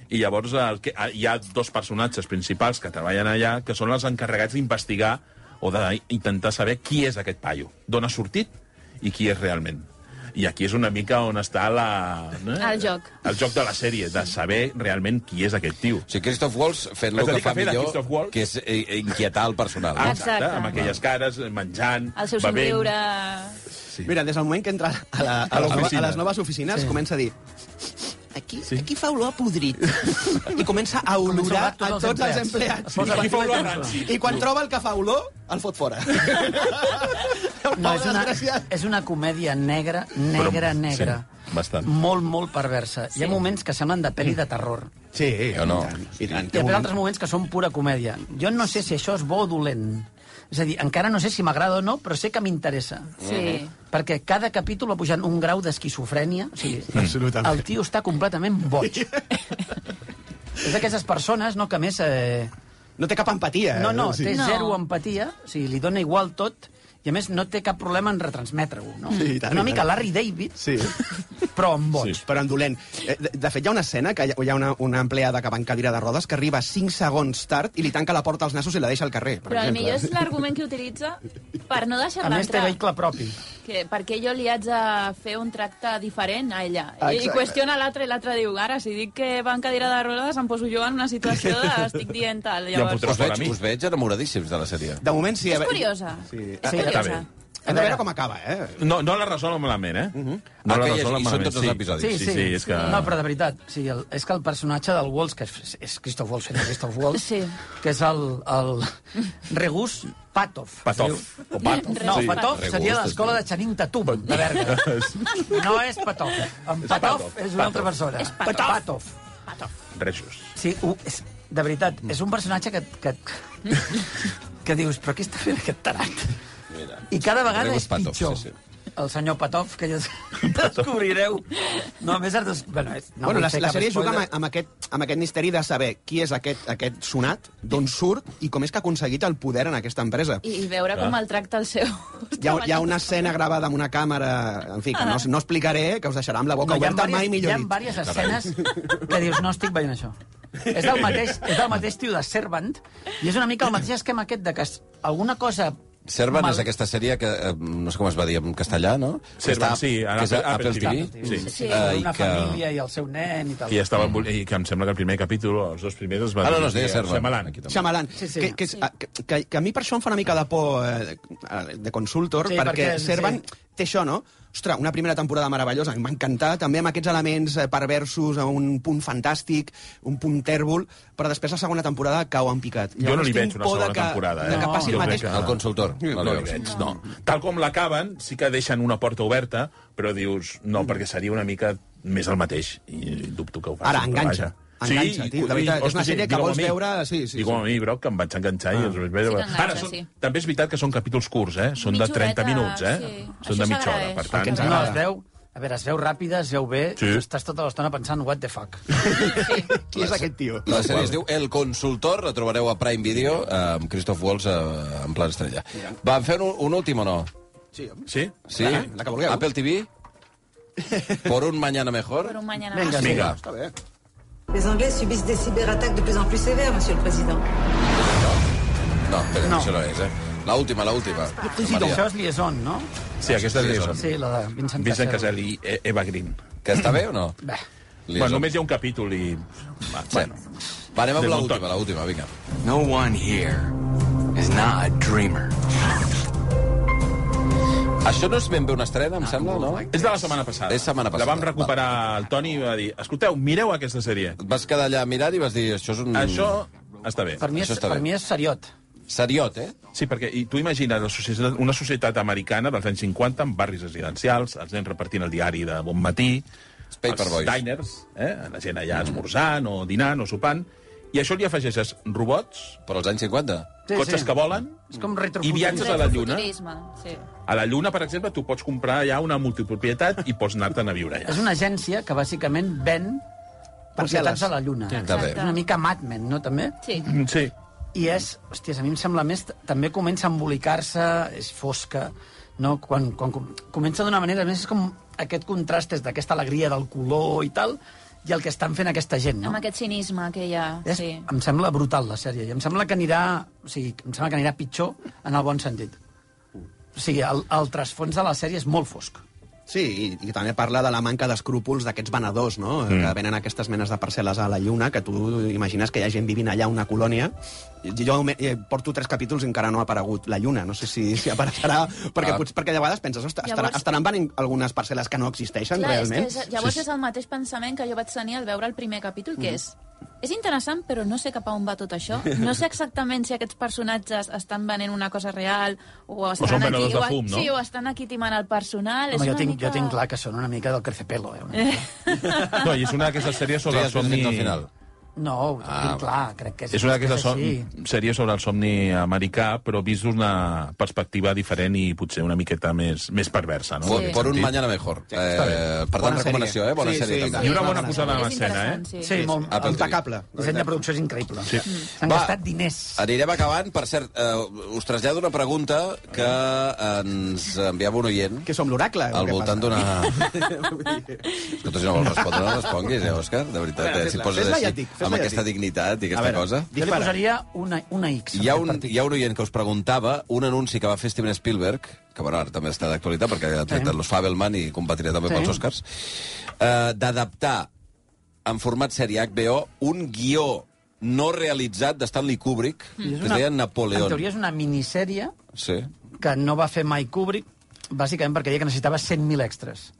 i llavors el que, ah, hi ha dos personatges principals que treballen allà que són els encarregats d'investigar o d'intentar saber qui és aquest paio, d'on ha sortit i qui és realment. I aquí és una mica on està la... No?
El joc.
El joc de la sèrie, de saber realment qui és aquest tio.
O sigui, Christoph Waltz fent el
És a dir,
que fa
que fer de
millor,
Christoph Waltz.
que és eh, inquietar el personal.
Ah, Exacte.
amb aquelles cares, menjant,
El seu
bevent...
somriure...
Sí.
Mira, des del moment que entra a, la, a,
A
les, nova-
l'oficina.
a les noves oficines, sí. comença a dir... Aquí, sí. aquí fa olor a podrit. I comença a
a
olorar a
tots
tots
els
els empleats.
Posa
Aquí fa olor a
ranci.
I quan troba el que fa olor, el fot fora.
No, és una, és una comèdia negra, negra,
Però-
negra.
Sí, bastant.
Molt, molt perversa. Hi ha moments que semblen de pel·li de terror.
Sí,
O no?
I tant.
Hi ha altres moments que són pura comèdia. Jo no sé si això és bo o dolent. És a dir, encara no sé si m'agrada o no, però sé que m'interessa.
Sí.
Perquè cada capítol va pujant un grau d'esquizofrènia. O sigui,
Absolutament.
el tio està completament boig. és d'aquestes persones, no, que a més... Eh,
No té cap empatia.
no, no,
Eh, Sí.
té
No.
zero empatia, o sigui, li dona igual tot, i a més no té cap problema en retransmetre-ho, no?
Sí, i tant,
Una
i
mica
tant.
Larry David,
Sí.
però amb boig.
Però en dolent. Eh, De, de fet, hi ha una escena que hi ha- hi ha una, una empleada que va en cadira de rodes que arriba 5 segons tard i li tanca la porta als nassos i la deixa al carrer, per
Però el
exemple.
millor és l'argument que utilitza per no
A
deixar-la
més, té
entrar.
vehicle propi.
Que, perquè jo li haig de fer un tracte diferent a ella. I, i
Exacte.
qüestiona l'altre i l'altre diu, ara, si dic que va en cadira de rodes, em poso jo en una situació de estic dient tal.
em
Llavors,
fotrà
Us veig,
mi.
us veig enamoradíssims de la sèrie.
De moment, sí. a
és
veure-
curiosa.
Eh,
Sí.
És curiosa.
bé.
Hem de veure com acaba, eh?
No, no la resol malament, eh? Uh -huh. No la
Aquella-
resol
Mhm. i són
malament.
tots els
sí.
episodis.
Sí, sí, sí, és que...
No, però de veritat, sí, el, és que el personatge del Walls, que és, és Christoph Waltz, fent de Christoph Waltz,
Sí.
que és el, el Regus Patov.
Patov. O Patov.
No,
Sí.
Patov
Regus,
seria de l'escola de
sí.
Chanin Tatum, de Berga. No és Patov. En
És
Patov
Patov.
és una altra
Patov.
persona.
És Patov.
Patov.
Reixos.
Sí, ho, és, de veritat, és un personatge que, que, que dius, però què està fent aquest tarat?
Mira.
I cada vegada
Regus
és
Patov,
pitjor.
sí,
Sí,
sí.
sí. El senyor Patov, que ja descobrireu. No, a més, ara des... bueno, és, no
No, bueno,
vull
la,
fer
la
cap
sèrie juga
spoiler.
amb, amb, aquest, amb aquest misteri de saber qui és aquest, aquest sonat, d'on surt i com és que ha aconseguit el poder en aquesta empresa.
I, I veure com el tracta el seu...
Ah. Hi ha, hi ha una escena gravada amb una càmera... En fi, que
Ah.
no, no explicaré, eh, que us deixarà amb la boca
hi ha
oberta
vàries-
mai millor dit.
Hi ha diverses escenes que dius, no estic veient això. És del mateix, és del mateix tio de Servant, i és una mica el mateix esquema aquest de que es- alguna cosa...
Servant
mal-
és aquesta sèrie que, eh, no sé com es va dir en castellà, no?
Servant,
Està-
sí, a
que és a
Apple-
Apple
Apple
TV.
Sí.
Sí.
Eh, i
una
que-
família i el seu nen i tal.
I estava embol- i que em sembla que el primer capítol, o els dos primers, es va...
Ah, no, no, es
dirigir
deia
a
Servant.
Shyamalan.
Aquí també.
Xamalan.
Sí, sí.
Que, que, és, que, que, que a mi per això em fa una mica de por eh, de, de Consultor,
Sí,
sí, perquè,
perquè-
perquè Servan
sí.
sí. té això, no? Ostres, una primera temporada meravellosa, a mi m'ha encantat, també amb aquests elements eh, perversos, amb un punt fantàstic, un punt tèrbol, però després la segona temporada cau en picat.
Jo no
Llavors
li
tinc
veig una
por de
segona
que,
temporada, eh?
De que
No.
passi
Jo
el
crec
mateix.
que-
El consultor.
No, no, li veig, no. Tal com l'acaben, sí que deixen una porta oberta, però dius, no, perquè seria una mica més el mateix. I dubto que ho facin.
Ara,
però
enganxa.
vaja.
Enganxa, tio, de veritat,
i-
és una
hosti,
sèrie que
digue-ho
vols
a mi.
veure, sí, sí,
Digue-ho
sí. Ah.
a mi, bro, que em vaig enganxar. I els vaig veure.
Sí que enganxa,
Ara, són,
sí.
també és veritat que són capítols curts, eh? Són de
Mitja
30
horeta,
minuts, eh?
sí.
Són de
Això
mitja hora,
s'agraeix.
per
Perquè
tant...
ens no, es veu, a veure, es veu ràpida, es veu bé, sí.
Sí.
estàs tota l'estona pensant what the fuck.
Qui és aquest tio?
La sèrie es diu El Consultor, la trobareu a Prime Video, eh, amb Christoph Waltz eh, en plan estrella. Van fer un, un últim o no?
Sí, home.
Sí?
Sí?
Clar, la que vulgueu.
Apple TV? Por un mañana mejor?
Per un mañana.
Vinga, sí.
Vinga.
Està bé.
Les Anglais subissent des cyberattaques de plus en plus sévères, Monsieur le Président.
No, espera, no.
No.
això no és, eh? L'última, l'última.
Això
Maria,
és Liaison, no?
Sí, aquesta és la
Sí, la de Vincent,
Vincent
Cassel.
Casel i E- Eva Green.
Que està bé o no?
Bé,
Li
Bueno,
és-
només hi ha un capítol i... Va,
Sí.
bueno.
Va, anem amb
Des del
l'última,
tot.
l'última, vinga.
No one here is not a dreamer.
Això no és ben bé una estrena,
Ah,
em sembla, no?
És de la setmana passada.
És setmana passada.
La vam recuperar el Toni i va dir, escolteu, mireu aquesta sèrie.
Et vas quedar allà a mirar i vas dir, això és un...
Això està bé.
per mi és,
Això està
per
bé.
mi és seriot.
Seriot, eh?
Sí, perquè i tu imagines la societat, una societat americana dels anys 50 amb barris residencials, els nens repartint el diari de bon matí,
Paperboys.
els diners, eh? la gent allà esmorzant o dinant o sopant, i a això li afegeixes robots...
Però als anys 50.
Sí, cotxes sí. que volen...
És com
I
retrofuturisme.
viatges a la Lluna.
Turisme, sí.
A la Lluna, per exemple, tu pots comprar ja una multipropietat i pots anar-te'n a viure allà.
És una agència que bàsicament ven propietats a la Lluna.
Està bé.
Una mica Mad Men, no, també?
Sí.
Sí.
I és, hòsties, a mi em sembla més... També comença a embolicar-se, és fosca, no? Quan, quan com- comença d'una manera, a més és com aquest contrast és d'aquesta alegria del color i tal, i el que estan fent aquesta gent, no?
Amb aquest cinisme que hi ha,
És,
sí.
Eh? Em sembla brutal, la sèrie, i em sembla que anirà... O sigui, em sembla que anirà pitjor en el bon sentit. O sigui, el, el trasfons de la sèrie és molt fosc.
Sí, i, i també parla de la manca d'escrúpols d'aquests venedors, no? Mm. Que venen aquestes menes de parcel·les a la Lluna, que tu imagines que hi ha gent vivint allà una colònia. I Jo me- eh, porto tres capítols i encara no ha aparegut la Lluna. No sé si, si apareixerà, perquè,
Ah.
potser, perquè de vegades penses, ostres,
Llavors-
estarà, estaran venent algunes parcel·les que no existeixen,
Clar,
realment?
És que és, llavors sí. és el mateix pensament que jo vaig tenir al veure el primer capítol, que és... És interessant, però no sé cap a on va tot això. No sé exactament si aquests personatges estan venent una cosa real o
són
estan aquí...
venedors de
o,
fum, no?
Sí, o estan aquí timant el personal. és
Home, jo,
una
tinc,
mica...
jo tinc clar que són una mica del crecepelo, eh? Una
No, I és una d'aquestes sèries sobre
Sí,
el
has vist
somni...
fins al final.
No, ho
Ah,
tinc clar, crec que és...
És una d'aquestes
és
som...
així.
sèries sobre el somni americà, però vist d'una perspectiva diferent i potser una miqueta més, més perversa, no?
Por,
En aquest
por un
sentit.
mañana mejor.
Sí,
eh,
està bé.
per tant,
Bona
recomanació,
sèrie.
eh? Bona
Sí,
sèrie
sí,
també.
I una bona
Sí,
posada en
És
escena,
interessant, sí.
eh?
Sí, molt...
Apple
el
TV.
Impecable, la
disseny de
veritat.
producció és increïble.
Sí.
Mm.
Va.
S'han
Eh,
gastat diners.
Anirem acabant. Per cert, eh, us trasllado una pregunta que ens enviava un oient
Que som l'oracle? o
al
què
voltant
passa?
d'una... Escolta, si no vols respondre, no responguis, eh, Òscar? De veritat,
Espera,
eh? Si
fes-la,
poses
fes-la
així,
llàtic, fes-la
amb aquesta
llàtic.
dignitat i aquesta
veure,
cosa...
Jo li
Dispara.
posaria una, una X.
Hi ha, un, hi ha un oient que us preguntava un anunci que va fer Steven Spielberg, que bueno, ara també està d'actualitat perquè ha tret
Sí.
sí. los Fabelman i competirà també
Sí.
sí. pels Oscars, eh, d'adaptar en format sèrie HBO un guió no realitzat de Stanley Kubrick, mm. que es deia Napoleón.
En teoria és una minissèrie
Sí.
que no va fer mai Kubrick, bàsicament perquè deia que necessitava 100.000 extras.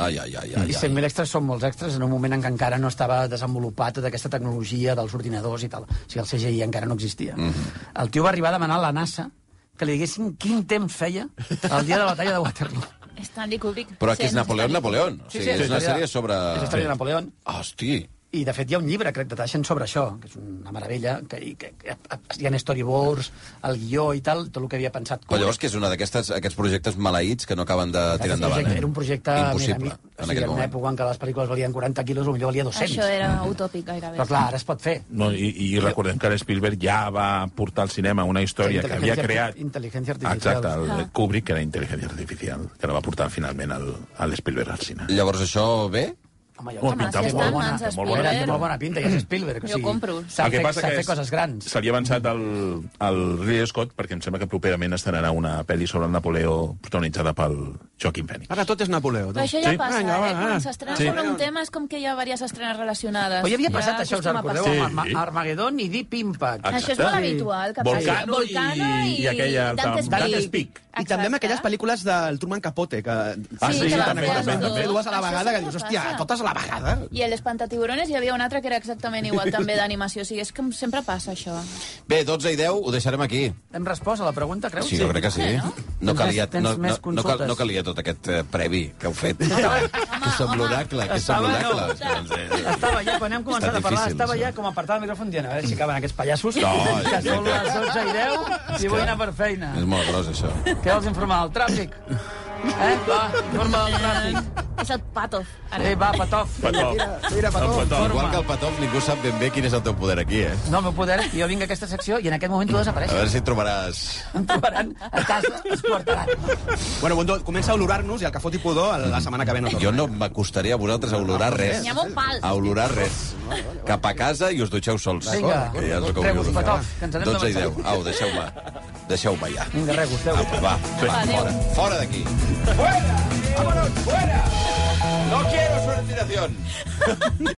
Ai, ai, ai,
I
ai.
100.000 extras són molts extras en un moment en què encara no estava desenvolupat tota aquesta tecnologia dels ordinadors i tal. O sigui, el CGI encara no existia. Mm
Mhm.
-hmm. El tio va arribar a demanar a la NASA que li diguessin quin temps feia el dia de la batalla de Waterloo.
Stanley Kubrick.
Però aquí és
sent
Napoleón,
Stanley Kubrick.
Napoleón. O sigui, és una
història-
sèrie sobre...
És la història de Napoleón.
Hosti,
I, de fet, hi ha un llibre, crec, de Taschen sobre això, que és una meravella, que, i que, que hi ha storyboards, el guió i tal, tot el que havia pensat.
però llavors que és una d'aquests aquests projectes maleïts que no acaben de tirar
Era
endavant.
un projecte-
eh?
Era un projecte...
Impossible,
mira, a mi- o
en
sigui,
aquell
en una
moment.
època en què les pel·lícules valien 40 quilos, potser valia 200.
Això era utòpic gairebé.
Però, clar, ara es pot fer.
No, i, I recordem que ara Spielberg ja va portar al cinema una història que havia
Intel·ligència
creat...
arti- intel·ligència artificial.
Exacte, el
Ah.
Kubrick, que era intel·ligència artificial, que la va portar finalment al, al Spielberg al cinema.
Llavors això ve?
Home, jo
Home,
crec que
si
té
està
molt
en
bona-
mans de
té molt bona-
Spielberg.
Té molt bona pinta, i és Spielberg. o
Jo
sigui,
compro.
Sap
El que
fer,
passa
sap
que
fer
és-
coses grans.
Se li ha avançat el, el Ridley Scott perquè em sembla que properament estrenarà una pel·li sobre el Napoleó protagonitzada pel Joaquim Phoenix.
Ara tot és Napoleó.
Però
Doncs.
això ja
Sí.
passa,
Vinga, va,
eh?
va.
Quan s'estrena
Sí.
sobre un tema és com que hi ha diverses estrenes relacionades.
Però ja havia
Ja
passat això, us en
acostuma a
recordeu?
passar.
Sí.
Amb Arma- Armageddon i Deep Impact.
Exacte.
Això és molt habitual. Que
Volcano
passi. Volcano
i-
i,
i aquella-
Dante's Peak.
Dante's Peak.
I també amb aquelles pel·lícules del Truman Capote, que...
Ah, sí,
que van
també,
fer
també,
els
també.
Van fer dues a la
Això
vegada, que
sempre
dius, hòstia,
passa.
totes a la vegada.
I el Espantatiburones hi havia un altre que era exactament igual, també d'animació. O sigui, és que sempre passa això.
Bé, 12 i 10, ho deixarem aquí.
Hem respost a la pregunta, creus?
Sí, jo crec que sí. No
Tens
calia,
més- Doncs tens
no, no,
més
no, cal,
consultes.
no calia tot aquest eh, previ que heu fet. que som
home.
l'oracle, que som
Estava,
l'oracle.
no.
Doncs, eh,
Estava ja, quan hem començat a
Està
parlar,
difícil,
estava
això.
ja com apartat el micròfon dient a veure si acaben aquests pallassos,
No,
que
és
són
veritat.
les 12 i 10 i vull anar per feina.
És molt gros, això.
Què vols informar? El tràfic? Eh? Va, informa del tràfic.
És el pato.
Eh, va, patof.
Petó.
Mira, Pató.
El Petó.
Igual que el Patov, ningú sap ben bé quin és el teu poder aquí, eh?
No, el meu poder, jo vinc a aquesta secció i en aquest moment tu
A
desapareixes.
veure si trobaràs...
Em trobaran a casa, es portaran.
Bueno, Bundó, comença a olorar-nos i el que foti pudor la setmana que ve no torna.
Jo no m'acostaré a vosaltres a olorar res.
N'hi ha molt pals.
A olorar res. Cap a casa i us dutxeu sols.
Vinga,
Que ja és el que
treu-vos
vulgueu.
petof, que ens anem de
12 i
marxar.
10. Au, deixeu-me. Deixeu-me ja.
Vinga, res,
Apa, Va,
gusteu.
va, fora. Fora d'aquí. ¡Fuera! ¡Vámonos, fuera! No quiero su respiración.